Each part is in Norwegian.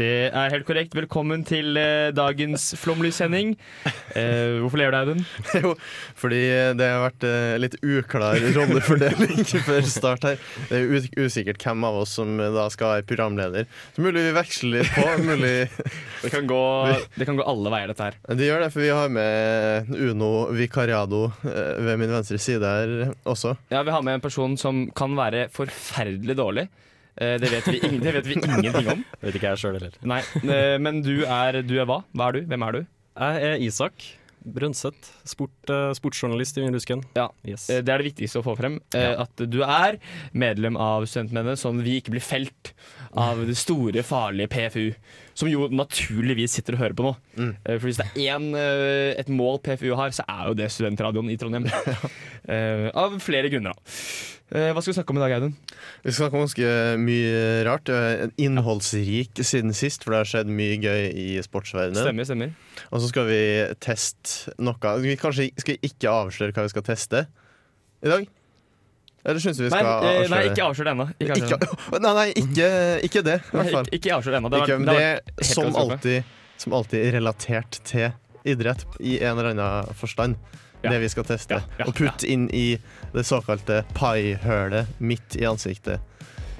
Det er helt korrekt. Velkommen til eh, dagens Flomlys-sending. Eh, hvorfor ler du, Audun? Jo, fordi det har vært eh, litt uklar rollefordeling før start her. Det er u- usikkert hvem av oss som eh, da skal være programleder. Så mulig vi veksler litt på. Mulig Det kan gå, det kan gå alle veier, dette her. Det gjør det, for vi har med Uno Vicariado eh, ved min venstre side her også. Ja, Vi har med en person som kan være forferdelig dårlig. Eh, det, vet vi ing det vet vi ingenting om. Vet ikke jeg sjøl heller. Nei, eh, Men du er, du er hva? Hva er du? Hvem er du? Jeg er Isak Brønseth. Sport, eh, sportsjournalist i Vingrusken. Ja, Yes. Eh, Det er det viktigste å få frem. eh, At du er medlem av Studentmennene, sånn vi ikke blir felt av det store, farlige PFU. Som jo naturligvis sitter og hører på nå. Mm. Eh, For hvis det er én, eh, et mål PFU har, så er jo det studentradioen i Trondheim. Eh, Av flere grunner, da. Eh, Hva skal vi snakke om i dag, Audun? Vi skal snakke om ganske mye rart. eh, Innholdsrik siden sist, for det har skjedd mye gøy i sportsverdenen. Stemmer, stemmer. Og så skal vi teste noe. Vi kanskje skal ikke avsløre hva vi skal teste i dag? Eller syns du vi Nei, skal eh, avsløre nei, ikke avslør det ennå. Ikke avslør det ennå. Ikke- nei, nei, ikke, ikke det, i hvert Nei, fall. Ikke, ikke avslør det ennå. Det har Ikke, vært- men det har det er vært helt som katastrofe. alltid, som alltid relatert til idrett i en eller annen forstand. Ja. Det vi skal teste. Ja, ja, og putte inn i det såkalte paihølet midt i ansiktet.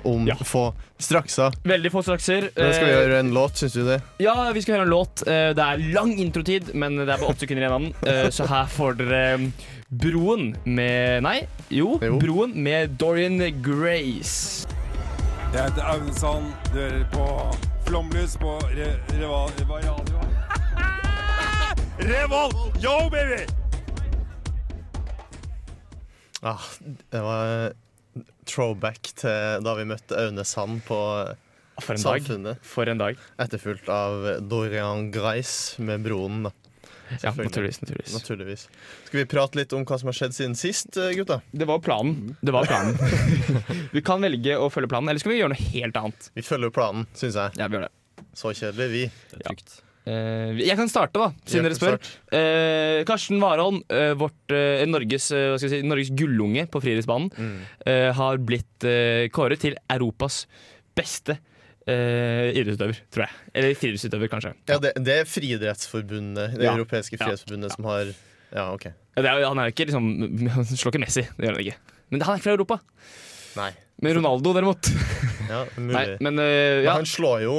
Om Ja. få strakser. Veldig få strakser. Men skal vi Eh, gjøre en låt, syns du det? Ja, vi skal høre en låt. Eh, Det er lang introtid, men det er bare åtte sekunder igjen av den. Eh, Så her får dere mm, Broen med Nei, jo, Jo. Broen med Dorian Grace. Jeg heter Aune Sand. Du hører på Flomlys på re Reva- Reva radio. Revolt! Yo, baby! Ah, det var eh, throwback til da vi møtte Aune Sand på Ah, For en dag. Samfunnet. For en dag. Etterfulgt av Dorian Grice med Broen, da. Ja, Selvfølgelig. naturligvis. naturligvis. Naturligvis. Skal vi prate litt om hva som har skjedd siden sist, eh, gutta? Det var planen. Det var planen. vi kan velge å følge planen, eller skal vi gjøre noe helt annet? Vi følger jo planen, syns jeg. Ja, vi gjør det. Så kjedelig, vi. det er trygt. Eh, jeg kan starte, da, siden Gjør dere det spør. snart. Eh, Karsten Warholm, eh, vårt, eh, Norges, eh, hva skal jeg si, Norges gullunge på friidrettsbanen, eh, har blitt eh, kåret til Europas beste eh, idrettsutøver, tror jeg. Eller friidrettsutøver, kanskje. Ja, det, det er Friidrettsforbundet, det Ja. europeiske Ja. friidrettsforbundet, som har Ja, OK. Ja, det er, jo- han er jo ikke liksom Han slår ikke Messi, det gjør han ikke. Men han er ikke fra Europa. Nei. Men Ronaldo, derimot. Ja, mulig. Nei, men, men eh, ja, han slår jo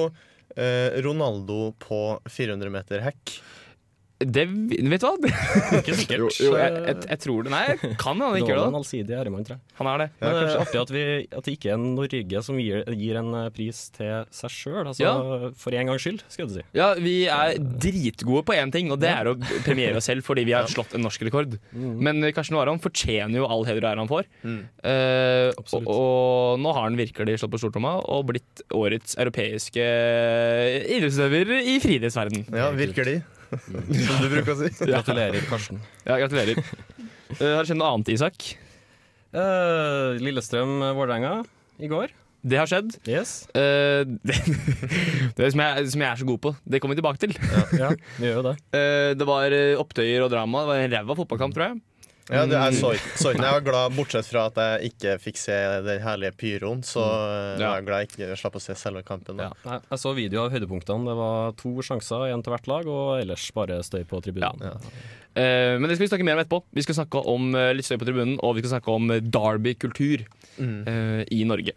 eh, Ronaldo på 400 meter hekk. det vi- Vet du hva? Ikke sikkert. Jo, jo, jeg, jeg, jeg tror det. Nei, kan han ikke Nåla gjøre en det? allsidig æremann, tror jeg. Han er det. Men det er artig at, vi, at det ikke er Norge som gir, gir en eh, pris til seg sjøl. Altså, Ja. For en gangs skyld, skal jeg si. Ja, vi er dritgode på én ting, og det er å premiere oss selv fordi vi har slått en norsk rekord. Men Karsten Warholm fortjener jo all heder og ære han får. Eh, og, Absolutt. og nå har han virkelig slått på stortromma og blitt årets europeiske idrettsutøver i friidrettsverden. Ja, virker de? som du bruker å si. Gratulerer, Karsten. Ja, gratulerer. Eh, har det skjedd noe annet, Isak? Eh, Lillestrøm-Vålerenga i går. Det har skjedd. Yes. Eh, det det som, jeg, som jeg er så god på. Det kommer vi tilbake til. Ja, vi gjør jo det. Eh, det var eh, opptøyer og drama. Det var en ræva fotballkamp, tror jeg. Ja, det er Mm. sorry. sorry. Jeg var glad, bortsett fra at jeg ikke fikk se den herlige pyroen, så eh, Mm. Ja. var jeg glad jeg ikke slapp å se selve kampen. Da. Ja. Nei, Jeg så video av høydepunktene. Det var to sjanser, én til hvert lag, og ellers bare støy på tribunen. Ja. Eh, men det skal vi snakke mer om etterpå. Vi skal snakke om eh, litt støy på tribunen, og vi skal snakke om eh, Derby-kultur eh, i Norge.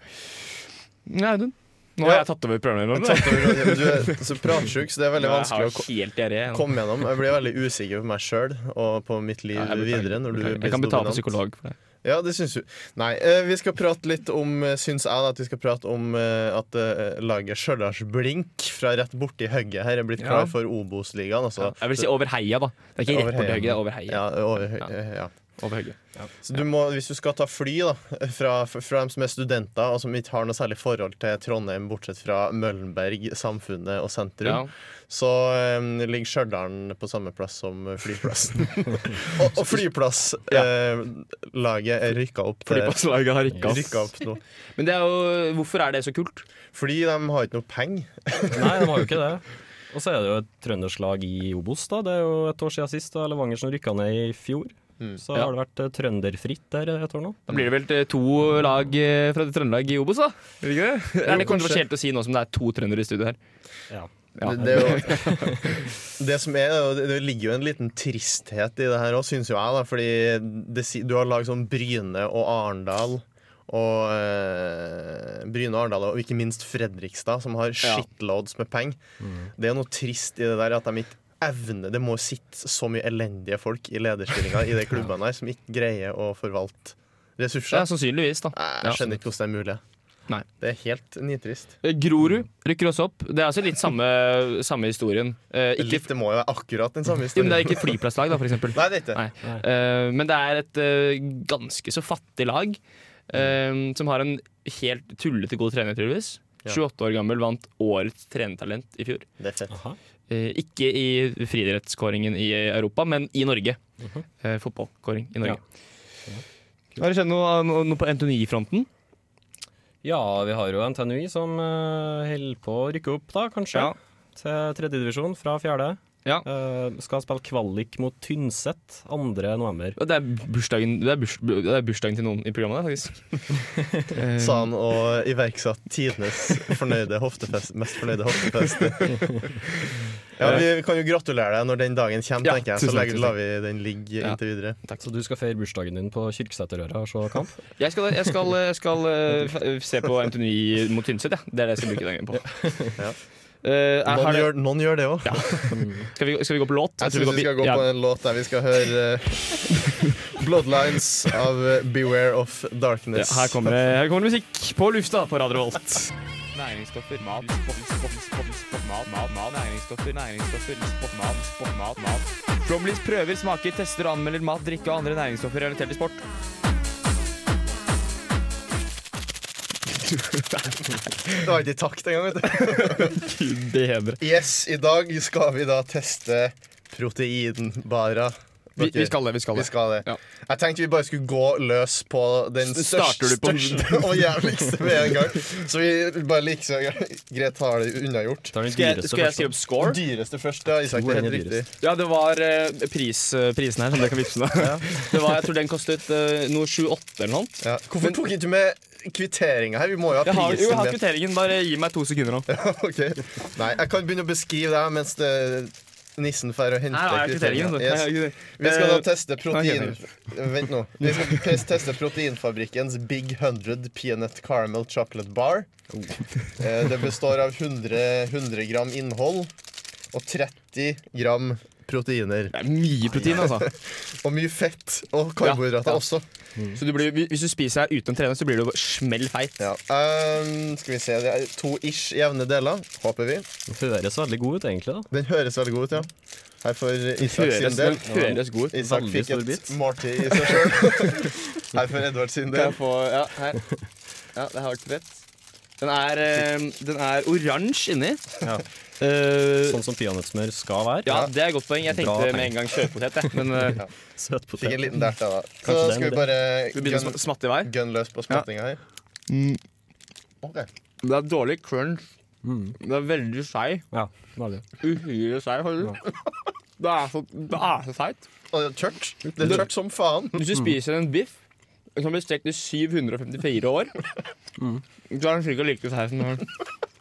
Nei, Audun. Nå har Ja. jeg tatt over programmet. Tatt over- Du er så pratsjuk, så det er veldig vanskelig å ko- Jeg har helt diaré. nå. komme gjennom. Jeg blir veldig usikker på meg sjøl og på mitt liv Ja, jeg beklager. videre. Når du Beklager. blir Jeg kan så betale dominant. for psykolog for det. Ja, det syns du. Nei, eh, vi skal prate litt om eh, Syns jeg da, at vi skal prate om eh, at eh, laget Stjørdals-Blink fra rett borti hugget her er blitt Ja. klar for Obos-ligaen. Altså. Jeg vil si over heia, da. Det er ikke Over rett borti heia. høyre, det er over heia. Ja, over, høy- Ja. eh, ja. over helga. Så du må, hvis du skal ta fly da, fra, fra dem som er studenter og som ikke har noe særlig forhold til Trondheim, bortsett fra Møllenberg, samfunnet og Ja. sentrum, så eh, ligger Stjørdal på samme plass som flyplassen. og og flyplasslaget er rykka opp, til- Flypasslaget har rykka rykka opp nå. Men det er jo, hvorfor er det så kult? Fordi de har ikke noe penger. Nei, de har jo ikke det. Og så er det jo et trønderslag i Obos. da Det er jo et år siden sist, da Levanger som rykka ned i fjor. Så Ja. har det vært eh, trønderfritt der et år nå. Da blir det vel eh, to lag eh, fra Trøndelag i Obos, da? Er det ikke det? Er det kontroversielt å si nå som det er to trøndere i studio her? Ja. Ja. Det, det, er jo, det som er, og det, det ligger jo en liten tristhet i det her òg, syns jo jeg. da Fordi det, si- du har lag som Bryne og Arendal. Og eh, Bryne og Arendal, og ikke minst Fredrikstad, som Ja. har Mm. shitloads med penger. Det er noe trist i det der at de ikke evner Det må sitte så mye elendige folk i lederstillinga i de klubbene her som ikke greier å forvalte Ja, ressurser. sannsynligvis, da. Jeg skjønner ikke hvordan det er mulig. Nei. Det er helt nitrist. Eh, Grorud rykker også opp. Det er altså litt samme, samme historien. Eh, ikke, Litt, det må jo være akkurat den samme jo, men historien. det er ikke flyplasslag, da, for eksempel. Nei, det er ikke det. Nei. Eh, men det er et eh, ganske så fattig lag, eh, som har en helt tullete god trener, tydeligvis. Ja. 28 år gammel, vant årets trenertalent i fjor. Det er fett. Aha. Eh, ikke i friidrettskåringen i Europa, men i Norge. Mhm. eh, fotballkåring i Norge. Har det skjedd noe, noe, noe på NTNI-fronten? Ja, vi har jo NTNUI som eh, holder på å rykke opp, da, kanskje. Ja. Til tredjedivisjon fra fjerde. Ja. Eh, skal spille kvalik mot Tynset 2. november. Det er, bursdagen, det, er burs, det er bursdagen til noen i programmet, faktisk. sa han og iverksatte tidenes fornøyde hoftefest, mest fornøyde hoftefeste. Ja, vi kan jo gratulere deg når den dagen kommer, Ja, tenker jeg. tusen Så takk, legger, tusen lar vi den ligge inntil videre. Så du skal feire bursdagen din på Kyrksæterøra og se kamp? Jeg skal, jeg skal, jeg skal eh, f- se på NTNI mot Tynset, ja. Det er det jeg skal bruke dagen på. Ja. Eh, jeg har Noen det- gjør, noen gjør det òg. skal, vi, skal vi gå på låt? Jeg tror vi skal gå ja. på en låt der vi skal høre eh, 'Bloodlines' av eh, 'Beware of ja, Darkness'. her, kommer, det- her kommer det musikk på lufta på Radio Volt. Næringsstoffer, mat, mat, mat, mat, næringsstoffer, næringsstoffer, sport, mat, sport, mat, mat. Bromlys prøver, smaker, tester og anmelder mat, drikke og andre næringsstoffer relatert til sport. Det var ikke i takt engang. vet du. Bedre. Yes, i dag skal vi da teste proteinbarer. Vi, vi Dere- skal det, vi skal Vi det. skal det. Ja. Jeg tenkte vi bare skulle gå løs på den S- starter største, du på- største og jævligste med en gang. Så vi bare like så greit har det unnagjort. Det er den Skal jeg, dyreste skal jeg første. skrive opp score? Dyreste først, ja. Isak, det er helt Hvor er den riktig. Ja, det var eh, pris, eh, prisen her, som dere kan vippse med. Det var, jeg tror den kostet eh, noe 7-8 eller noe. Ja. Hvorfor tok ikke du med kvitteringa her? Vi må jo ha Jeg har, jo, prisen jeg har med. kvitteringen. Bare gi meg to sekunder nå. Ok. Nei, jeg kan begynne å beskrive det her mens det Nissen drar og Her henter har jeg kvitteringen. kvitteringa. Yes. Yes. Vi skal da Eh, teste protein... nei, Vent nå. Vi skal tes- teste Proteinfabrikkens Big 100 Peanut Caramel Chocolate Bar. Oh. Eh, Det består av 100, 100 gram innhold og 30 gram proteiner. Det er mye protein, altså. Og mye fett og karbohydrater Ja, ja. også. Så du blir, hvis du spiser her uten å trene, så blir du smell feit. Ja. ehm, skal vi se, det er to ish jevne deler, håper vi. Den høres veldig god ut, egentlig. da Den høres veldig god ut, ja. Her får Isak sin Høres, del. den høres god ut. Isak veldig fikk stor et bit. måltid i seg sjøl. Her får Edvard sin del. få Ja, her. Ja, det har vært fett. Den er, eh, den er oransje inni. Ja. Eh, Sånn som peanøttsmør skal være. ja, det er et godt poeng. Jeg Bra tenkte tegn. med en gang kjøttpotet. jeg. Men eh, Søtpotet. Fikk en liten dert av det. Så Kanskje det er skal vi en bare vi begynner gun, å smatte i vei. gun løs på smattinga her. Ok. Det er dårlig crunch. Mm. Det er veldig seig. Ja, veldig. Uhyre seig, faktisk. Det er så, det er så seigt. Og det er tørt. Det er tørt som faen. Hvis Mm. du spiser en biff som blir stekt i 754 år, Mm. så er den sikkert like seig som den.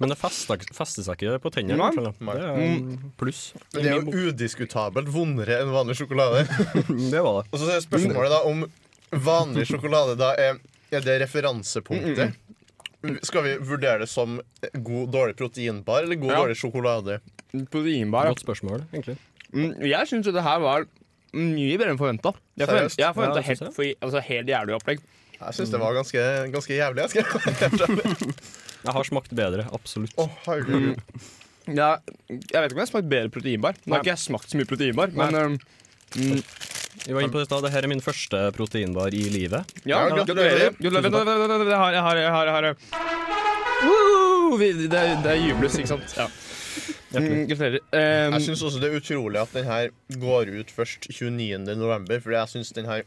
Men det fester, fester seg ikke på tennene. Nei. i hvert fall, da. Det er en pluss. Men det er jo udiskutabelt vondere enn vanlig sjokolade. Det var det. Og så er spørsmålet da om vanlig sjokolade da er, er det referansepunktet. Skal vi vurdere det som god, dårlig proteinbar eller god, Ja. dårlig sjokolade? Proteinbar. ja. Godt spørsmål, egentlig. Mm, Jeg syns jo det her var mye bedre enn forventa. Jeg Seriøst? forventa Ja, det helt, synes jeg. for- altså, helt jævlig opplegg. Jeg syns det var ganske, ganske jævlig. Jeg skal Jeg har smakt bedre, absolutt. Å, herregud. Jeg, jeg vet ikke om jeg har smakt bedre proteinbar. Nå har Nei. ikke jeg smakt så mye proteinbar, men um, mm, Vi var inne på det i stad. Dette er min første proteinbar i livet. Ja, Ja, gratulerer. gratulerer. Gratulerer. Vent, vent, vent, vent, Jeg har, jeg har, jeg har, jeg har. Woo! Vi- Det, er- det er jubles, ikke sant? Ja. Mm, gratulerer. Um, Jeg syns også det er utrolig at den her går ut først 29. november, fordi jeg syns den her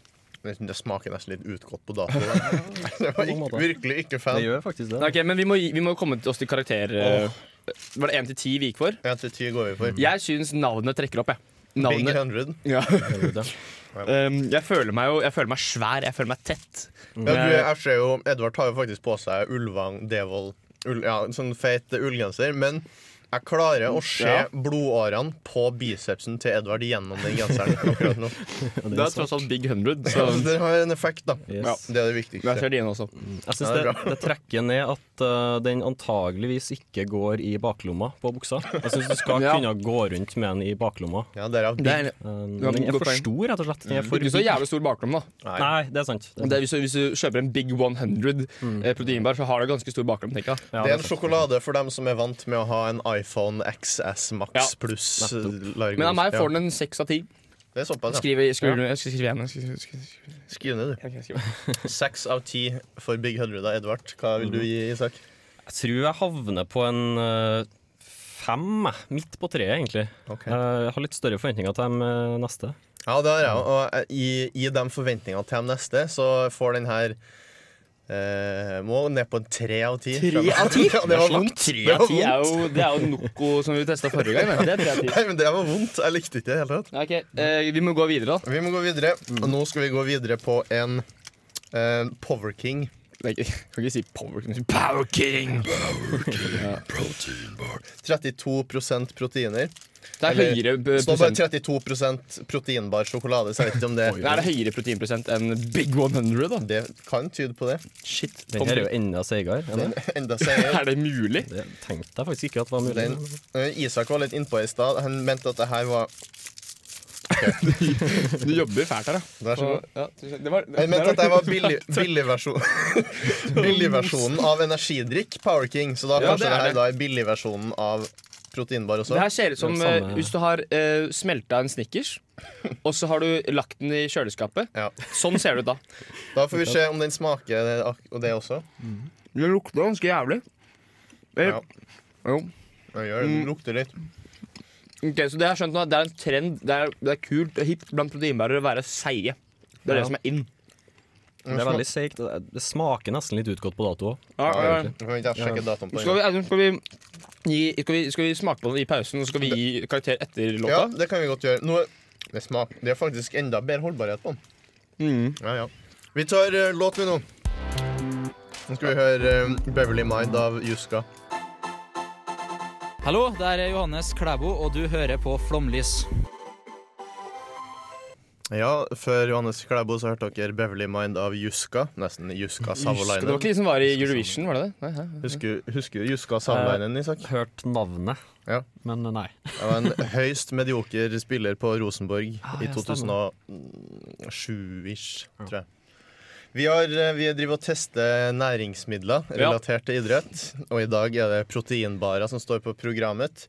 det smaker nesten litt utgått på dato. Jeg var ikke, virkelig ikke Det fan. gjør faktisk det. ok, men vi må, gi- vi må komme til oss til karakter... eh, Var det 1 til 10 vi gikk for? En til ti går vi for. Jeg syns navnet trekker opp, jeg. Big Navnet, 100. ja. Herregud, ja. um, jeg føler meg jo Jeg føler meg svær, jeg føler meg tett. Ja, du, jeg ser jo, Edvard tar jo faktisk på seg Ulvang Devold ul, ja, Sånn feit ullgenser Men jeg klarer å se Ja. blodårene på bicepsen til Edvard Gjennom den genseren akkurat nå Det er tross alt Big 100, så Så det har en effekt da Yes. Det er det Sånn. jeg viktigste ser dine også. Jeg Ja, syns det er det, det trekker ned at eh, den antageligvis ikke går i baklomma på buksa. Jeg syns du skal Ja. kunne gå rundt med den i baklomma. Ja, derav Det er, big Um, Ja, den er godt for poeng. Mm. stor, rett og slett. Den er for ikke så big. jævlig stor baklomme, da. Nei, det er sant. Det er, hvis, du, hvis du kjøper en Big 100 eh, proteinbar, så har du ganske stor baklomme, tenker jeg. Ja, det er en sant. sjokolade for dem som er vant med å ha en iPhone XS Max Ja. pluss Nettopp. largo. Men av meg får ja. den en 6 av 10. Det er såpass, ja. Skriver, skriver, jeg skal skrive igjen. Jeg skal, skrive- skal, skal, Skriv ned, du. skal, skal. Seks av ti for Big 100 av Edvard. Hva vil du gi, Isak? Jeg tror jeg havner på en eh, fem, jeg. midt på treet, egentlig. Ok. Eh, jeg har litt større forventninger til dem eh, neste. Ja, det har jeg. Og eh, i, i de forventningene til de neste, så får den her eh, Må ned på en tre av ti. Tre av ti? Ja, det var vondt. Tre Det av var ti er vondt. jo, det er jo Noco som vi testa forrige gang. men Det er tre av ti. Nei, men det var vondt. Jeg likte ikke det i det hele tatt. Mm. Ja, ok. Eh, vi må gå videre, da. Vi må gå videre. Og nå skal vi gå videre på en eh, Power King. Jeg kan ikke si Power King. Power King! Protein bar. 32 proteiner. Det er Eller- høyere b- Så nå bare prosent. 32 proteinbar sjokolade, så jeg vet ikke om det Nei, det er høyere proteinprosent enn Big 100, da. Det kan tyde på det. Shit. Den her er jo enda seigere. er den? Enda seier. Er det mulig? Det tenkte jeg faktisk ikke at var mulig. Den, Eh, Isak var litt innpå i stad. Han mente at det her var Du jobber fælt her, da. Vær så god. Ja, det var, Jeg mente at det var billig- billigversjon Billigversjonen av energidrikk, Power King. Så da Ja, kanskje det det, er her det. da er billigversjonen av proteinbar også. Det her ser ut som Det er samme- eh, hvis du har uh, smelta en Snickers, og så har du lagt den i kjøleskapet. Ja. Sånn ser det ut da. Da får vi se om den smaker det, ak- og det også. Det lukter ganske jævlig. Eh, Ja. Jo. Den gjør det. Den lukter litt. Ok, så det jeg har skjønt nå, er at det er en trend. Det er, det er kult og hipt blant proteinbærere å være seige. Det er Ja. det som er in. Det er veldig seigt. Det det smaker nesten litt utgått på dato òg. Ja, Ja, jeg kan ikke sjekke datoen på Skal den. vi, Audun, skal, vi gi, skal, vi, skal vi smake på den i pausen, og så skal vi gi karakter etter Ja, låta? det kan vi godt gjøre. Nå, det, smak, det er faktisk enda bedre holdbarhet på den. Ja, ja. Vi tar eh, låt, vi nå. Nå skal vi høre eh, Beverly Mind av Juska. Hallo, det er Johannes Klæbo, og du hører på Flomlys. Ja, før Johannes Klæbo så hørte dere Beverly Mind av Juska. Nesten Husker- Juska Det var Savolainen. ikke de som var i Eurovision, var det det? Nei, hæ? Husker, husker du Juska Savolainen, Isak? Hørt navnet, Ja. men nei. Det var en høyst medioker spiller på Rosenborg Ah, i ja, 2007-ish, tror jeg. Vi, har, eh, vi driver og tester næringsmidler Ja. relatert til idrett. Og i dag er det proteinbarer som står på programmet.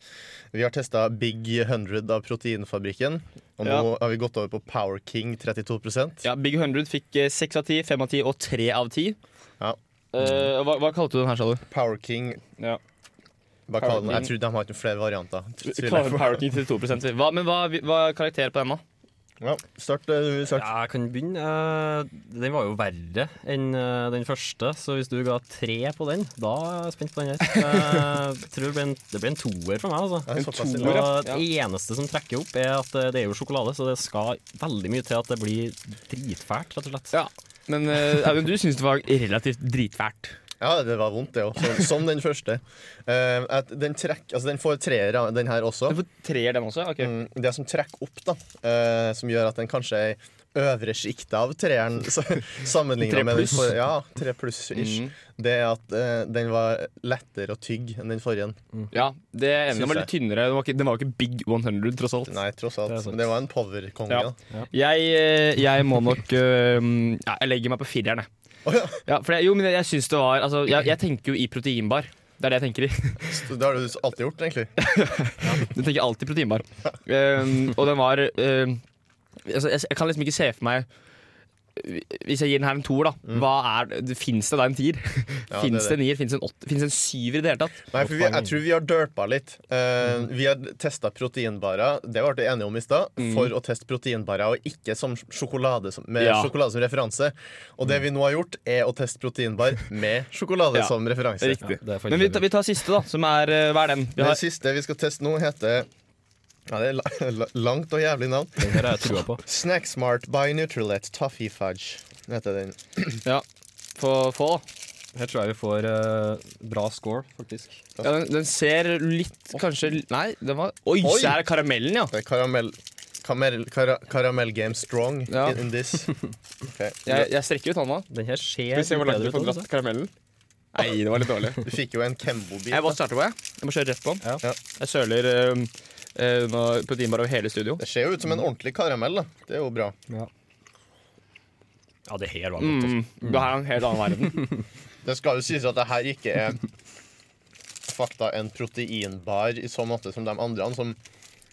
Vi har testa Big 100 av Proteinfabrikken. Og nå Ja. har vi gått over på Power King 32 Ja, Big 100 fikk eh, 6 av 10, 5 av 10 og 3 av 10. Ja. Eh, hva, hva kalte du den her, sa du? Power King Ja. hva Power kaller den? Jeg King. tror de har ikke flere varianter. Tviler jeg på. Power King 32 hva, Men hva, hva er karakter på den, da? Ja, start, eh, Isak. Ja, jeg kan begynne. Eh, Den var jo verre enn eh, den første, så hvis du ga tre på den, da er jeg spent på den her. Eh, Jeg tror det ble en, det ble en toer for meg, altså. Det er såpass Og ille. det eneste som trekker opp, er at eh, det er jo sjokolade, så det skal veldig mye til at det blir dritfælt, rett og slett. Ja. Men eh, Audun, du syns det var relativt dritfælt. Ja, det var vondt, det òg. Som, som den første. Eh, at den, trekk, altså den får treer, ja, den her også. Du får treer, den også? Ok. Mm, Det som trekker opp, da, eh, som gjør at den kanskje er i øvre sjiktet av treeren sammenligna Tre med den pluss. Mm. forrige, ja, tre pluss-ish, det er at eh, den var lettere å tygge enn den forrige. Ja, det ene Syns den var litt tynnere. Den var, ikke, den var jo ikke Big 100, tross alt. Nei, tross alt. Det er sant. Men det var en power-konge. Ja. da. Jeg, eh, jeg må nok eh, ja, Jeg legger meg på fireren, jeg. Ja, for jeg, jo, men jeg, jeg syns det var altså, jeg, jeg tenker jo i proteinbar. Det er det jeg tenker i. Så Det har du alltid gjort, egentlig. Ehm, Jeg tenker alltid proteinbar. Eh, og den var eh, altså, jeg, jeg kan liksom ikke se for meg Hvis jeg gir den her en toer, da, hva er det- det? Fins det da en tier? Mm. Ja, det er fins det en nier? Fins det en åtter? Fins det en syver i det hele tatt? Nei, for vi, jeg tror vi har derpa litt. Eh, Mhm. vi har testa proteinbarer, det ble vi enige om i stad, Mhm. for å teste proteinbarer og ikke som sjokolade som, med Ja. Mhm. sjokolade som referanse. Og det vi nå har gjort, er å teste proteinbar med sjokolade Ja, som referanse. Riktig. det er faktisk Men vi, tar- vi tar siste, da, som er eh, Hva er den? Vi Det har siste vi skal teste nå, heter ja, det er la- la- langt og jævlig navn. Den her har jeg trua på. Snacksmart by Nutrilett Toffee Fudge. Heter den. ja, få, få, da. Her tror jeg vi får eh, bra score, faktisk. Ja, den, den ser litt kanskje Nei, den var Oi, Oi! se her er karamellen, ja. Det er karamell, karamell, kara, karamell Game Strong Ja. in, in this. Ok. Jeg, jeg strekker ut hånda. Den her ser Skal vi se hvor langt du bedre får ut, altså. dratt karamellen? Nei, det var litt dårlig. Du fikk jo en Kembo-bit. Jeg må starte på, jeg. Jeg må kjøre rett på den. Ja. Jeg søler um, proteinbar over hele studio. Det ser jo ut som en ordentlig karamell. da Det er jo bra. Ja, det her var godt. altså. Mm, det her er en helt annen verden. Det skal jo sies at det her ikke er fakta en proteinbar i så måte som de andre. Som,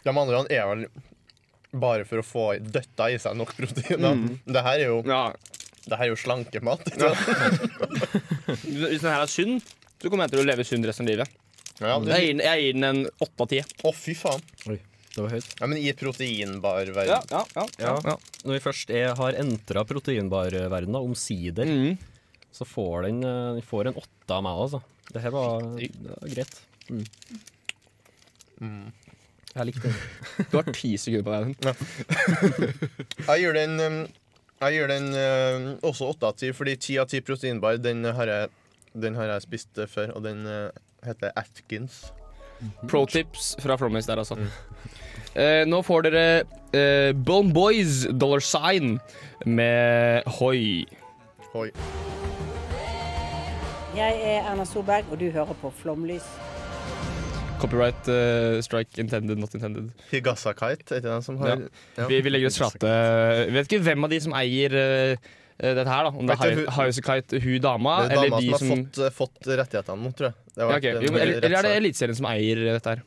de andre er vel bare for å få døtta i seg nok proteiner. Mm. Det her er jo, Ja. det her er jo slankemat. Hvis den her er sunn, så kommer jeg til å leve sunn resten av livet. Ja, det, Jeg gir den, jeg gir den en åtte av ti. å, fy faen. Oi, det var høyt. Ja, men i proteinbarverden. ja, Ja. Når vi først er, har entra proteinbarverdenen, omsider, Mhm. så får den, eh, den får en åtte av meg, altså. Det her var, det var greit. Jeg likte den. Du har ti sekunder på veien. Jeg gir den, um, jeg gir den um, også åtte av ti, fordi ti av ti proteinbar, den har jeg, den har jeg spist uh, før, og den uh, heter Atkins. Pro tips fra Flomlys der, altså. Mm. Eh, nå får dere eh, Bone Boys Dollar Sign med Hoi. Hoi. Jeg er Erna Solberg, og du hører på Flomlys. Copyright eh, strike intended, not intended. Higasakite, er det den som har Ja. Vi, vi legger ut slate Jeg vet ikke hvem av de som eier eh, dette her, da. Om det Vet du, er hun- Highasakite, hun dama, Det er eller dama de som har som fått, eh, fått rettighetene nå, tror jeg. Det har ja, vært ok. en jo, men, eller, eller er det rettssak. Eliteserien som eier dette her?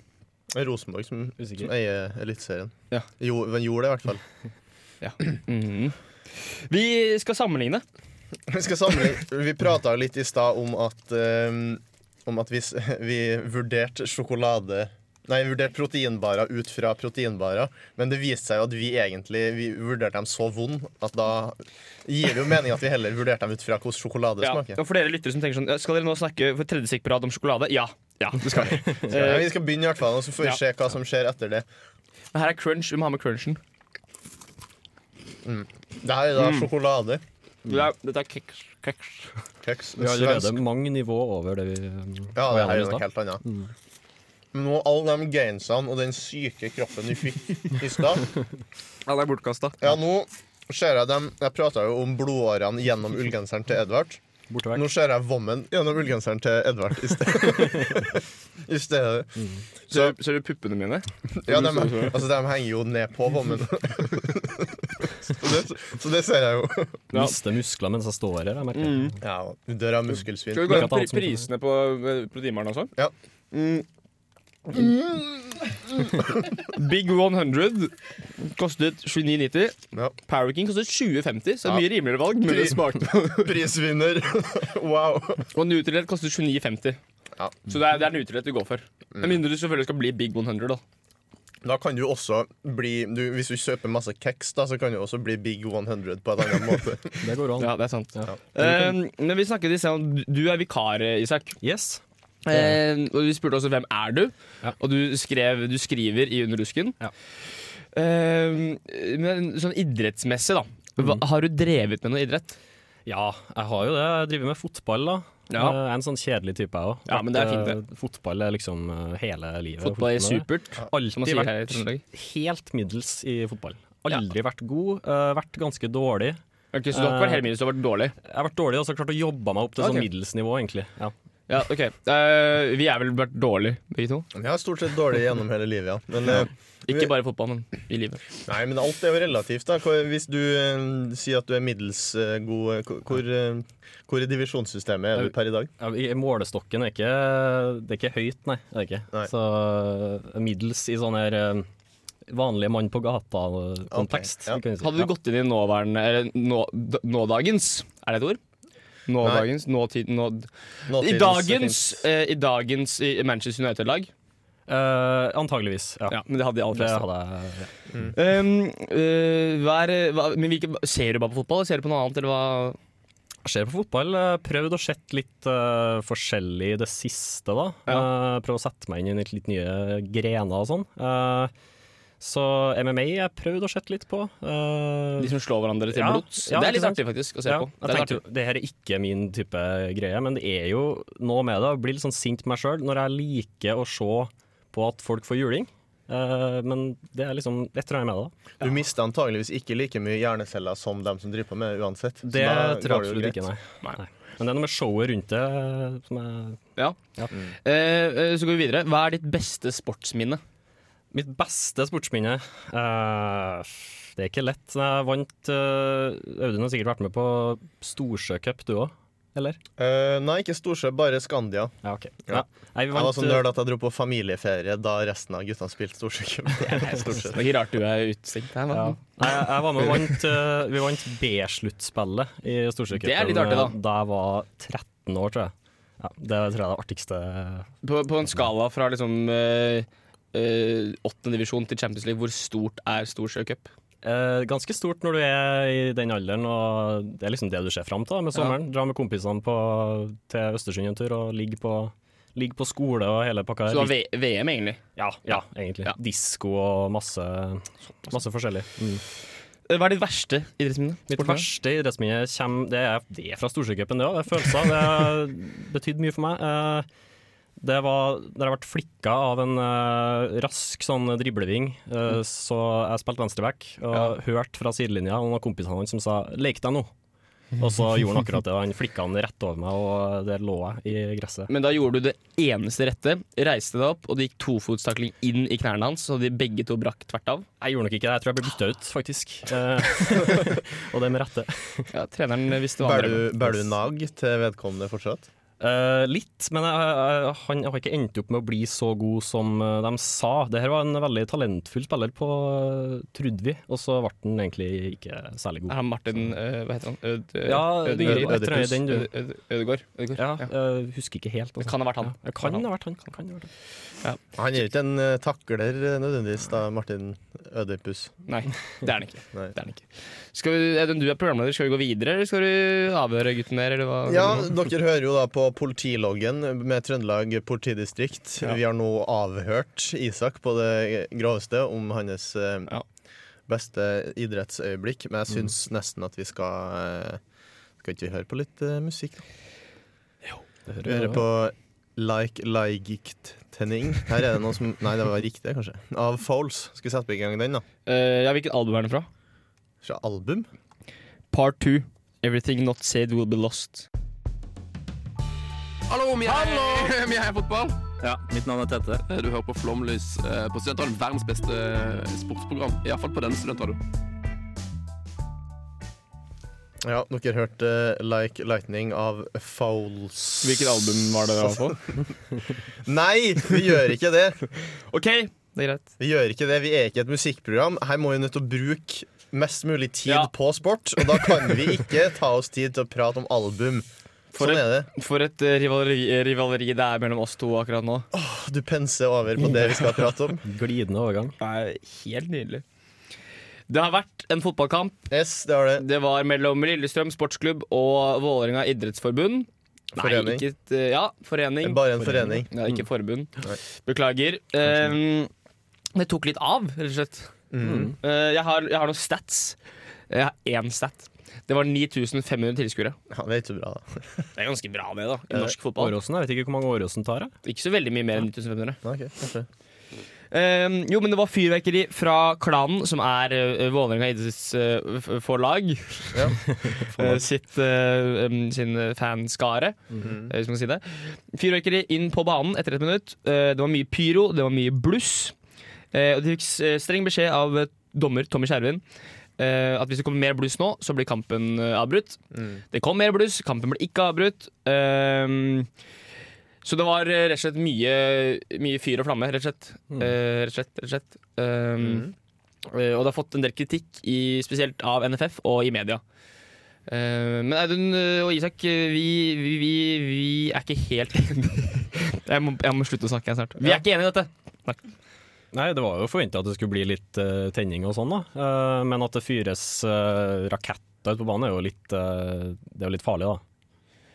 Det er Rosenborg som, som Usikker. eier Eliteserien. Ja. Jo, men gjorde det, i hvert fall. Mhm. Vi skal sammenligne. Vi skal sammenligne Vi prata litt i stad om at eh, Om at vi, s- vi vurderte sjokolade Nei, vi vurderte proteinbarer ut fra proteinbarer, men det viste seg jo at vi egentlig vi vurderte dem så vond at da gir det jo mening at vi heller vurderte dem ut fra hvordan sjokolade Ja. smaker. Og for dere lyttere som tenker sånn Skal dere nå snakke for tredje stikk på rad om sjokolade? Ja. Ja, det skal vi. Men vi skal begynne, i hvert fall, og så får vi Ja. se hva som skjer etter det. Men her er crunch. Vi må ha med crunchen. Det her er da sjokolade. Det er- Dette er keks. keks. Kjeks. Vi har Svensk- allerede mange nivå over det vi um, Ja, var det her gjennom i er noe stad. helt annet. Men nå alle de gainsene og den syke kroppen du fikk i stad Ja, det er bortkasta. Ja, nå ser jeg dem Jeg prata jo om blodårene gjennom ullgenseren til Edvard. Borte vekk. Nå ser jeg vommen gjennom ullgenseren til Edvard i stedet. I stedet. Ser, du- ser du puppene mine? Ja, de, altså, de henger jo ned på vommen. Så det, så det ser jeg jo. Ja. Mm. Mister muskler mens jeg står her, jeg merker. Ja, Dør av muskelsvinn. Skal vi gå Ikke gjennom at alt pri som- prisene på eh, proteinbaren også? Ja. Mm. Big 100 kostet 29,90. Ja. Power King kostet 20,50, så det er Ja. mye rimeligere valg. Men det Pri- smakte. Prisvinner. Wow. Og Nutrilett kostet 29,50. Ja. Så det er, det er Nutrilett du går for. Mm. Med mindre du selvfølgelig skal bli Big 100, da. Da kan du også bli du, Hvis du kjøper masse keks, da, så kan du også bli Big 100 på en annen måte. Det går an. Ja, det er sant. Ja. Eh, men vi snakket i sted om Du er vikar, eh, Isak. Yes. Eh, og vi spurte også hvem er du Ja. Og du, skrev, du skriver i Underdusken. Ja. Eh, men sånn idrettsmessig, da. Hva, har du drevet med noe idrett? Ja, jeg har jo det. Jeg driver med fotball, da. Ja. Jeg er en sånn kjedelig type, jeg òg. Ja, men det er fint, Fotball er liksom eh, hele livet. Fotball er Fotball supert. som man Alltid sier her i Trøndelag. vært helt middels i fotball. Aldri vært god, eh, vært ganske dårlig. Ok, så du har ikke vært helt minus, du har vært dårlig? Jeg har vært dårlig og så klart å jobbe meg opp til Ok. sånn middels nivå, egentlig. Ja. Ja, ok Eh, Vi er vel vært dårlig, begge to? Jeg har stort sett dårlig gjennom hele livet, ja. Men, eh, Ikke bare i fotball, men i livet. Nei, men alt er jo relativt. da Hvor- Hvis du eh, sier at du er middels eh, god eh, hvor- hvor, eh, hvor i divisjonssystemet er du per i dag? Ja, i- Målestokken er ikke, det er ikke høyt, nei. Det er ikke. Nei. Så eh, middels i sånn her eh, vanlige mann på gata-kontekst. Ok, ja. Hadde du gått inn i nåværende Eller nå, d- nådagens, er det et ord? Nådagens, nåtid, nå, I Nåtidens dagens, fint. eh, i dagens i Manchester United-lag. Eh, antageligvis, ja. Ja, men det hadde de aller Det fleste. hadde jeg ja. Um, eh, hva er, hva, men hvilke, ser du bare på fotball, eller ser du på noe annet? Eller hva? Jeg ser på fotball. eh, Prøvd å sett litt eh, forskjellig i det siste, da. Eh, prøvd å sette meg inn i litt, litt nye grener og sånn. Eh, så MMA jeg prøvd å sette litt på. Eh, De som slår hverandre til Ja, blods. ja, det er litt ikke sant? artig faktisk å se ja, på. Det jeg er tenkte artig. jo, det her er ikke min type greie, men det er jo noe med det. Jeg blir litt sånn sint på meg sjøl når jeg liker å se på at folk får juling. Eh, men det er liksom et eller annet med det. da. Du mister antageligvis ikke like mye hjerneceller som dem som driver på med det, uansett. Så Det da går tror jeg det jo absolutt ikke, greit. nei. nei. Men det er noe med showet rundt det eh, som er Ja. Eh, eh, så går vi videre. Hva er ditt beste sportsminne? Mitt beste sportsminne eh, Det er ikke lett. men Jeg vant eh, Audun har sikkert vært med på Storsjøcup, du òg? Eller? Eh, nei, ikke Storsjø, bare Skandia. Ja, OK. Ja. Nei, vi Jeg sånn var vant, eh, så nerd at jeg dro på familieferie da resten av guttene spilte Storsjøcup. Stort Det sett. er ikke rart du er utestengt her. hva? Ja. Nei, jeg, jeg var med og vant eh, Vi vant B-sluttspillet i Storsjøcupen. Det er litt artig, da. eh, Da jeg var 13 år, tror jeg. Ja, det tror jeg er det artigste På, på en skala fra liksom eh, eh, åttende divisjon til Champions League, hvor stort er Storsjø Cup? Eh, Ganske stort når du er i den alderen, og det er liksom det du ser fram til da, med sommeren. Dra med kompisene på, til Østersund en tur og ligge på, ligge på skole og hele pakka. Så det var v VM, egentlig. ja, ja, egentlig. Ja. Disko og masse, masse forskjellig. Eh, Hva er ditt verste idrettsminne? Mitt Sportsminne? verste idrettsminne kommer Det er, det er fra Storsjøcupen, det òg. Det er følelser. Det betydde mye for meg. Eh, Det var da jeg ble flikka av en eh, rask sånn dribleving. Eh, Så jeg spilte venstreback og hørte fra sidelinja og noen av kompisene hans som sa 'lek deg nå'. Og så gjorde han akkurat det. og Han flikka han rett over meg, og der lå jeg i gresset. Men da gjorde du det eneste rette. Reiste deg opp, og det gikk tofotstakling inn i knærne hans, så de begge to brakk tvert av. Jeg gjorde nok ikke det. Jeg tror jeg ble bytta ut, faktisk. Eh, og det med rette. Ja, treneren eh, visste hva han Bærer drev med. du, bærer du nag til vedkommende fortsatt? Eh, litt, men jeg, jeg, han har ikke endt opp med å bli så god som eh, de sa. Dette var en veldig talentfull spiller på eh, Trudvi, og så ble han egentlig ikke Er særlig god. han Martin eh, Hva heter han? Ød, ød, Ja, Ødegrid? jeg tror jeg er den, du. Ød- Ød- Ødegård. Ødegård. Ja, Ja. eh, husker ikke helt. altså. Det kan ha vært han. Ja, det kan ha vært han. Det Kan ha vært han. Han er jo ikke en eh, takler eh, nødvendigvis, da, Martin Ødipus. Nei, det er han ikke. Nei. Det er han ikke. Skal vi, Edun, du er programleder. Skal vi gå videre, eller skal du avhøre gutten der? Eller hva? Ja, dere hører jo da på politiloggen med Trøndelag politidistrikt. Vi har nå avhørt Isak på det groveste om hans eh, Ja. beste idrettsøyeblikk, men jeg syns nesten at vi skal eh, Skal ikke vi høre på litt eh, musikk? da? Det Vi hører hører jeg. på Like Leigikt Tenning. Her er det noe som Nei, det var riktig, kanskje. Av Fouls. Skal vi sette i gang den, da? Eh, ja, hvilket album er den fra? Fra album? Part two. Everything not said will be lost. Hallo, vi er, fotball. Ja, Mitt navn er Tette. Du hører på Flomlys eh, på Studentradioen. Verdens beste eh, sportsprogram. Iallfall på denne studentradioen. Ja, dere hørte eh, Like Lightning av Fouls. Hvilket album var det på? Nei, vi gjør ikke det. OK, det er greit. Vi gjør ikke det, vi er ikke et musikkprogram. Her må vi nødt til å bruke mest mulig tid Ja. på sport, og da kan vi ikke ta oss tid til å prate om album. For sånn et- er det. For et eh, rivaleri, rivaleri det er mellom oss to akkurat nå. Du penser over på det vi skal prate om. Glidende overgang. Det er helt nydelig. Det har vært en fotballkamp. Yes, det var det. Det var mellom Lillestrøm sportsklubb og Vålerenga idrettsforbund. Nei, Forening. ikke, et- eh, ja, forening. Bare en Mm. forening. Ja, ikke forbund. Beklager. Ehm, det tok litt av, rett og slett. Mm. Eh, jeg, har, jeg har noen stats. Jeg har én stat. Det var 9500 tilskuere. Ja, det er ikke så bra, da. Det er ganske bra, det, da. Eh, I norsk fotball. Åråsen, jeg vet ikke hvor mange Åråsen tar. Jeg. Ikke så veldig mye mer enn 9500. Nei, ok, kanskje. Ehm, jo, men det var fyrverkeri fra Klanen, som er uh, Vålerenga idrettsforlag Ja. sitt eh, em, sin eh, fanskare, eh, hvis man kan si det. Fyrverkeri inn på banen etter et minutt. Eh, det var mye pyro, det var mye bluss. Eh, og de fikk s- eh, streng beskjed av eh, dommer Tommy Skjervin. eh, at hvis det kommer mer bluss nå, så blir kampen eh, avbrutt. Det kom mer bluss, kampen ble ikke avbrutt. Ehm, Så det var eh, rett og slett mye, mye fyr og flamme, rett og slett. Eh, rett og slett, rett og slett. Um, eh, Og det har fått en del kritikk, i, spesielt av NFF og i media. Eh, men Audun eh, og Isak, eh, vi, vi, vi, vi er ikke helt enige. jeg, må, jeg må slutte å snakke her snart. Vi er ikke enige i dette. Nei, det var jo forventa at det skulle bli litt eh, tenning og sånn, da. Eh, men at det fyres eh, raketter ute på banen, er jo litt, eh, det er jo litt farlig, da.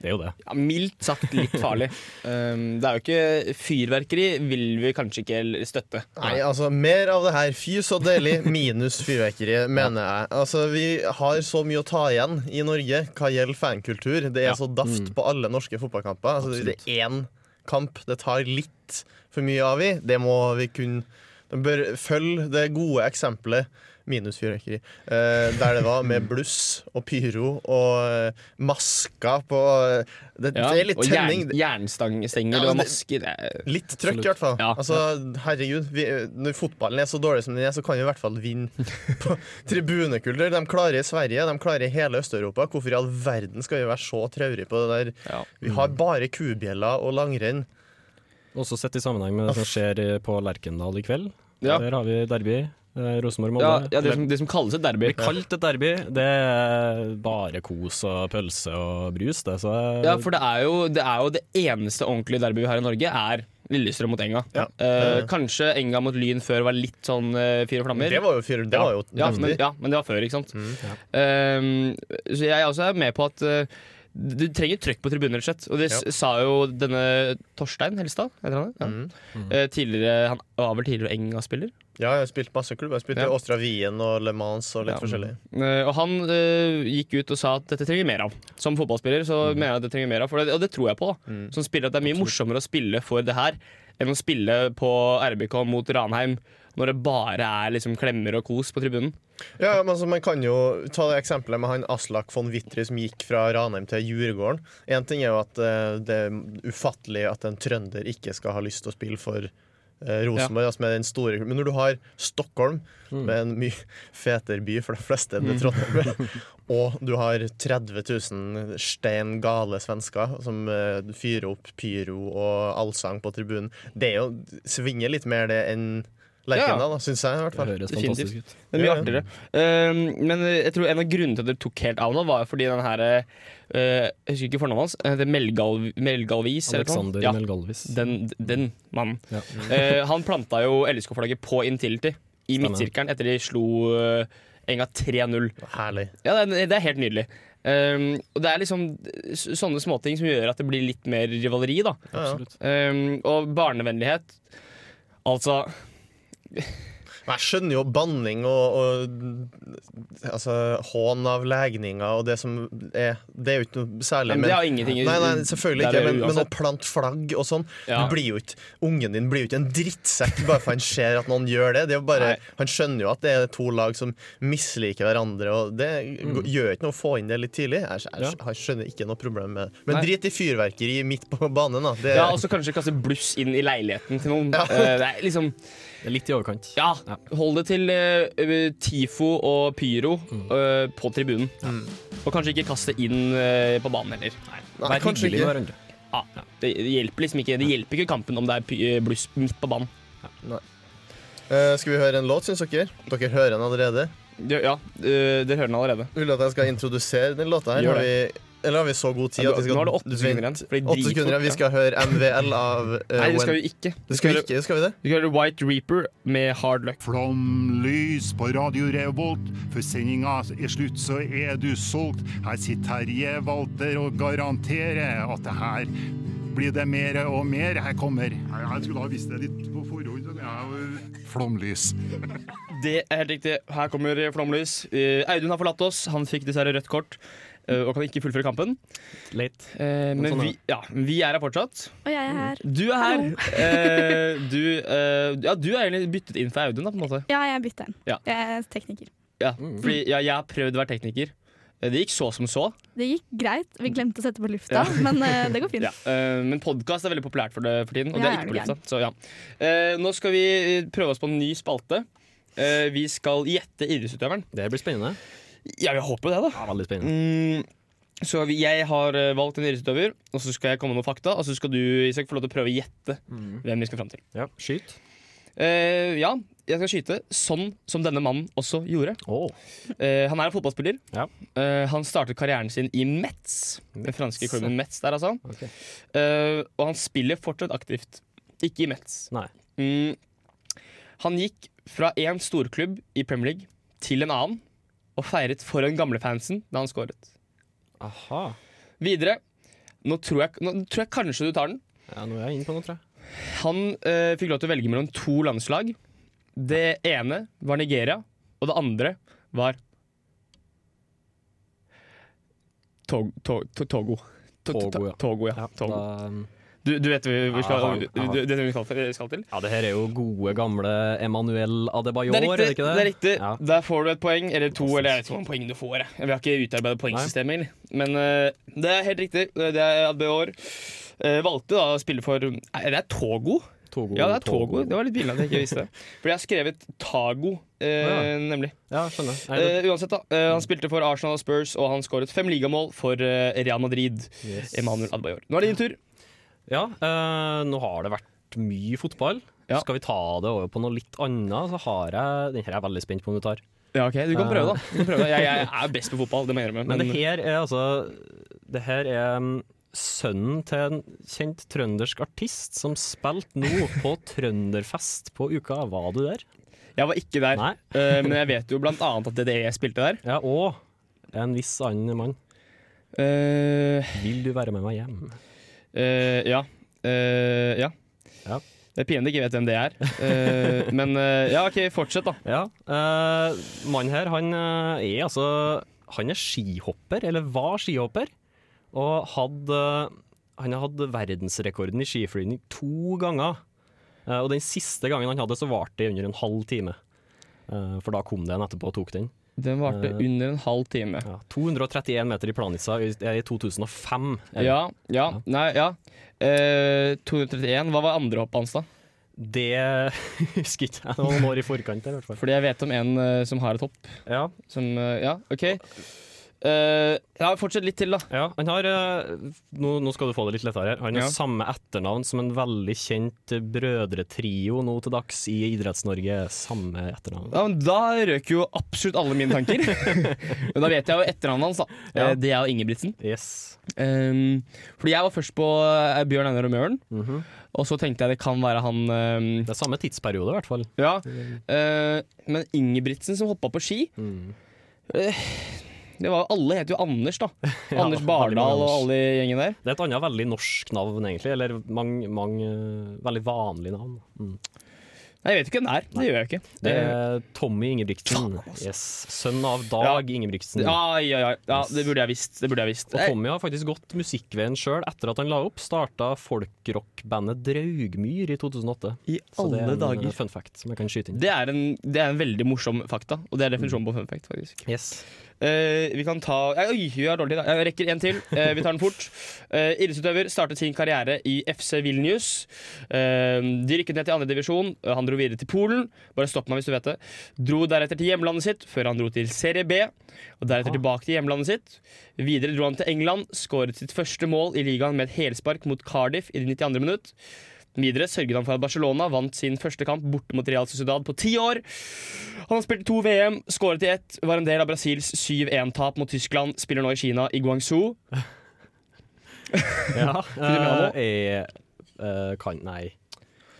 Det er jo det. Ja, mildt sagt litt farlig. Um, det er jo ikke Fyrverkeri vil vi kanskje ikke l- støtte. Nei, altså, mer av det her. Fy så deilig, minus fyrverkeri, mener jeg. Altså, Vi har så mye å ta igjen i Norge hva gjelder fankultur. Det er så daft Mm. på alle norske fotballkamper. Altså, hvis det er én kamp det tar litt for mye av i, det må vi kunne De bør følge det gode eksempelet minus fyrverkeri, eh, der det var med bluss og pyro og eh, masker på eh, Det, Ja, det er litt og tenning. jern, jernstangstenger Ja, og det- masker. det er- Litt trøkk, i hvert fall. Ja. Altså, herregud, vi, Når fotballen er så dårlig som den er, så kan vi i hvert fall vinne på tribunekultur. De klarer i Sverige, de klarer i hele Øst-Europa. Hvorfor i all verden skal vi være så traurige på det der? Ja. Vi har bare kubjeller og langrenn. Også sett i sammenheng med det som skjer eh, på Lerkendal i kveld. Ja. Der har vi derby. eh, Ja, Rosenborg-Molde. ja, det, som, det som kalles et derby. Det blir kaldt et derby. Det er bare kos og pølse og brus, det. Så Ja, for det er, jo, det er jo det eneste ordentlige derbyet vi har i Norge, er Lillestrøm mot Enga. Ja. Eh, kanskje Enga mot Lyn før var litt sånn eh, fyr og flammer. Det var jo fyr, det var jo Mm, ja, men, heftig. ja, men det var før, ikke sant. Ehm, så jeg også er med på at eh, du trenger trøkk på tribunen, rett og slett. Og det s- sa jo denne Torstein Helstad, heter han det? Ja. Mm, Eh, tidligere, han var vel tidligere Enga-spiller. Ja, jeg har spilt masse klubber. Jeg spilte Ja. i Åstra Wien og Le Mans og litt Ja. forskjellig. Eh, og han eh, gikk ut og sa at dette trenger vi mer av. Som fotballspiller så Mm. mener jeg at det trenger vi mer av, for det, og det tror jeg på. da. Som spiller at det er mye morsommere å spille for det her enn å spille på RBK mot Ranheim når det bare er liksom klemmer og kos på tribunen. Ja, men altså, Man kan jo ta det eksempelet med han Aslak von Wittry som gikk fra Ranheim til Djurgården. Én ting er jo at eh, det er ufattelig at en trønder ikke skal ha lyst til å spille for eh, Rosenborg, altså med den store klubben. Men når du har Stockholm, med en mye fetere by for de fleste enn det Trondheim er, og du har 30 000 stein gale svensker som eh, fyrer opp pyro og allsang på tribunen, det er jo, svinger litt mer det enn Lerkendal, syns jeg i hvert det fall. høres Definitivt. fantastisk ut. Det er mye Ja, ja. artigere. Ehm, men eh, jeg tror en av grunnene til at det tok helt av nå, var jo fordi den her eh, eh, Jeg husker ikke fornavnet hans. eh, Det er Melgalv, Melgalvis. eller hva? Alexander ja, Melgalvis. den, den mannen. Ja. Eh, han planta jo LSK-flagget på Intility i Stemmer. midtsirkelen etter de slo eh, Enga 3-0. Herlig. Ja, det er, det er helt nydelig. Ehm, og det er liksom s- sånne småting som gjør at det blir litt mer rivaleri, da. Ja, ja. Ehm, og barnevennlighet. Altså Men Jeg skjønner jo banning og, og altså, hån av legninger og det som er Det er jo ikke noe særlig. Men det har ingenting nei, nei, selvfølgelig Det er ikke, det men, men å uansett. plante flagg og sånn Ja. du blir jo ikke, Ungen din blir jo ikke en drittsekk bare for han ser at noen gjør det. det er jo bare, Nei. han skjønner jo at det er to lag som misliker hverandre, og det Mm. g- gjør ikke noe å få inn det litt tidlig. Jeg, jeg, jeg skjønner ikke noe problem med det. Men Nei. drit i fyrverkeri midt på banen, da. Det, Ja, og så kanskje kaste bluss inn i leiligheten til noen. Ja. Eh, det er liksom Det er litt i overkant. Ja, hold det til eh, TIFO og pyro Mm. eh, på tribunen. Og kanskje ikke kaste inn eh, på banen heller. nei, kanskje hyggelig med ikke. hverandre. Ja, det, det hjelper liksom ikke Det hjelper ikke kampen om det er py- eh, bluss midt på banen. altså- Eh, skal vi høre en låt, syns dere? Dere hører den allerede? Det, ja, eh, dere hører den allerede. Vil du at jeg skal introdusere den låta her? Gjør Har vi, eller har vi så god tid Ja, at vi skal nå har du åtte sekunder vente- igjen, for det er Åtte sekunder igjen. Vi skal høre MVL av uh, Nei, det skal vi ikke. Vi skal skal, vi høre- ikke. Skal vi det? vi skal høre White Reaper med Hard Luck. Flomlys på Radio Revolt, for sendinga er slutt, så er du solgt. Her sitter Terje Walter og garanterer at det her blir det mer og mer. Her kommer Jeg skulle ha visst det litt på forhånd. så jeg er jo- Flomlys. Det er helt riktig. Her kommer flomlys. Eh, Audun har forlatt oss. Han fikk dessverre rødt kort eh, og kan ikke fullføre kampen. Late. Eh, men vi, ja, vi er her fortsatt. Og jeg er her. Du er her. Eh, du, eh, ja, du er egentlig byttet inn for Audun, da, på en måte. Mm. Ja, jeg er bytteren. Ja. Jeg er tekniker. Ja, fordi ja, jeg har prøvd å være tekniker. Eh, Det gikk så som så. Det gikk greit. Vi glemte å sette på lufta, men eh, det går fint. Ja. eh, men podkast er veldig populært for, det, for tiden, og det Ja, er er ikke du på lufta. Så, ja. Eh, nå skal vi eh, prøve oss på en ny spalte. Eh, vi skal gjette idrettsutøveren. Det blir spennende. Ja, vi håper jo det, da. Ja, veldig spennende. Mm, Så har vi, jeg har eh, valgt en idrettsutøver, og så skal jeg komme med noen fakta. Og så skal du Isak, få lov til å prøve å gjette Mm. hvem vi skal fram til. Ja, skyt. Eh, ja, jeg skal skyte sånn som denne mannen også gjorde. Eh, han er en fotballspiller. Eh, han startet karrieren sin i Metz, den franske klubben Metz der, altså. Eh, og han spiller fortsatt aktivt. Ikke i Metz. Mm, han gikk fra én storklubb i Premier League til en annen, og feiret foran gamlefansen da han skåret. Aha. Videre nå tror, jeg, nå tror jeg kanskje du tar den. Ja, nå er jeg inne på noe, tror jeg. Han eh, fikk lov til å velge mellom to landslag. Det ene var Nigeria, og det andre var Tog, tog, to- Togo. To- to- Togo, ja. um, Togo, ja. Togo. Du, du vet hva vi skal, du, du, det vi skal, skal til? Ja, det her er jo gode, gamle Emanuel Adebayor, Det er er det riktig. ikke det? det er riktig. Ja. Der får du et poeng, eller to, eller jeg vet ikke hvor mange poeng du får. Jeg. Vi har ikke utarbeidet poengsystemet, egentlig. men eh, det er helt riktig. Det er Adebayor. Eh, valgte da å spille for Er det Togo? Togo ja, det er Oh, Togo. Det var litt billig at jeg ikke visste det. For jeg har skrevet Tago, eh, Ja. nemlig. Ja, skjønner. Nei, Eh, uansett, da. eh, han spilte for Arsenal og Spurs, og han skåret fem ligamål for eh, Real Madrid. Yes. Emanuel Adebayor. Nå er det din tur. Ja, eh, nå har det vært mye fotball. Skal vi ta det over på noe litt annet, så har jeg Den her er jeg veldig spent på om du tar. Ja, ok, Du kan Eh, prøve, da. Du kan prøve. Jeg, jeg er best på fotball, det må jeg gjøre. Men det her er altså Det her er mm, sønnen til en kjent trøndersk artist som spilte nå på trønderfest på uka. Var du der? Jeg var ikke der, Eh, men jeg vet jo blant annet at DDE spilte der. Ja, Og en viss annen mann. Vil du være med meg hjem? Eh, ja. Eh, ja. Det er pinlig ikke vet hvem det er. Eh, men eh, ja, OK, fortsett, da. Ja. eh, Mannen her, han eh, er altså Han er skihopper, eller var skihopper, og hadde eh, Han har hatt verdensrekorden i skiflygning to ganger. Eh, Og den siste gangen han hadde, så varte det under en halv time. Eh, For da kom det en etterpå og tok den. Den varte Eh, under en halv time. 231 meter i planissa i i 2005. er det. Ja, ja, nei, ja. Eh, 231. Hva var andre hoppet hans, da? Det husker ikke jeg. Det var noen år i forkant. Der, i hvert fall. Fordi jeg vet om en eh, som har et hopp. Ja. Som, eh, ja, OK. Eh, ja, fortsett litt til, da. Ja, han har eh, nå, nå skal du få det litt lettere her. Han har Ja. samme etternavn som en veldig kjent brødretrio nå til dags i Idretts-Norge. Samme etternavn. Ja, men da røk jo absolutt alle mine tanker. men da vet jeg jo etternavnet hans, da. Ja. Eh, Det er jo Ingebrigtsen. Yes. Um, fordi jeg var først på eh, Bjørn Einar og Møren. Mhm. Og så tenkte jeg det kan være han um, Det er samme tidsperiode, i hvert fall. Ja. eh, men Ingebrigtsen som hoppa på ski Mm. eh, det var, Alle heter jo Anders, da. Ja, Anders veldig Bardal mange og Anders. alle i gjengen der. Det er et annet veldig norsk navn, egentlig. Eller mange, mange eh, veldig vanlige navn. Mm. Nei, jeg vet jo ikke hvem det er. Det gjør jeg ikke. Det er Tommy Ingebrigtsen. Yes. Sønn av Dag Ingebrigtsen. Eh, Ja, ja, ja, ja, det burde jeg visst. Det burde jeg visst. Eh, Og Tommy har faktisk gått musikkveien sjøl etter at han la opp. Starta folkrockbandet Draugmyr i 2008. I Så det er alle en, dager. eh, Fun fact som jeg kan skyte inn. Det er, en, det er en veldig morsom fakta, og det er definisjonen på fun fact. faktisk Yes. Eh, Vi kan ta eh, Oi, vi har dårlig tid. da. Jeg rekker en til. Eh, vi tar den fort. Uh, Idrettsutøver startet sin karriere i FC Vilnius. Eh, de rykket ned til andredivisjon. Han dro videre til Polen. Bare stopp meg hvis du vet det. Dro deretter til hjemlandet sitt, før han dro til Serie B. Og deretter tilbake til hjemlandet sitt. Videre dro han til England, skåret sitt første mål i ligaen med et helspark mot Cardiff i det 92. minutt. Videre sørget han for at Barcelona vant sin første kamp borte mot Real Sociedad på ti år. Han spilte to VM, skåret i ett, var en del av Brasils 7-1-tap mot Tyskland, spiller nå i Kina, i Guangzhu. Ja, du med eh, eh, kan, nei.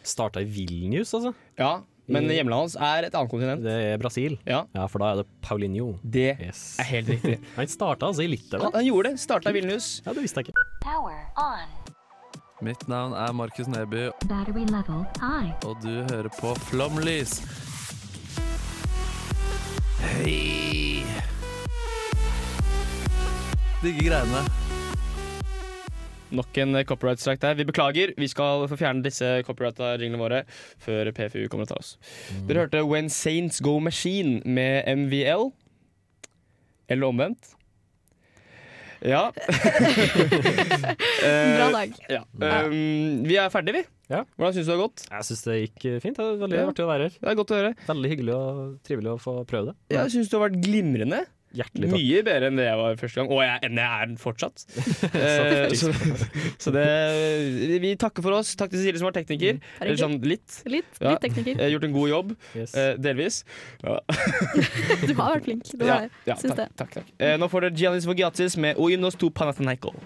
Starta i Vilnius, altså. Ja, men I- hjemlandet hans er et annet kontinent. Det er Brasil. Ja. for da er det Paulinho. Det Yes. er helt riktig. Han starta altså i Liter, Han, da. han gjorde det. Starta i Vilnius. Ja, det visste jeg ikke. Mitt navn er Markus Neby, Battery level high. og du hører på Flomlys. Hei! Digge greiene. Nok en copyright strike der. Vi beklager. Vi skal få fjerne disse copyright-reglene våre før PFU kommer og tar oss. Dere hørte When Saints Go Machine med MVL. Eller omvendt. Ja. Eh, Bra dag. Ja. Um, vi er ferdige, vi. Ja. Hvordan syns du det har gått? Jeg syns det gikk eh, fint. Det er veldig Ja. artig å være her. Det er godt å høre. Veldig hyggelig og trivelig å få prøve det. Jeg syns du har vært glimrende. Hjertelig takk. Mye bedre enn det jeg var første gang, og jeg, enn jeg er den fortsatt. Eh, så så det, vi takker for oss. Takk til Silje som var tekniker. er Eller sånn litt. Litt, litt Ja, tekniker. Jeg har gjort en god jobb. eh, delvis. Ja. Du har vært flink. Du Ja, har det, ja, syns det. takk, takk, takk. Eh, nå får dere Giannis Vogiatis med Oinos to Panathinaiko.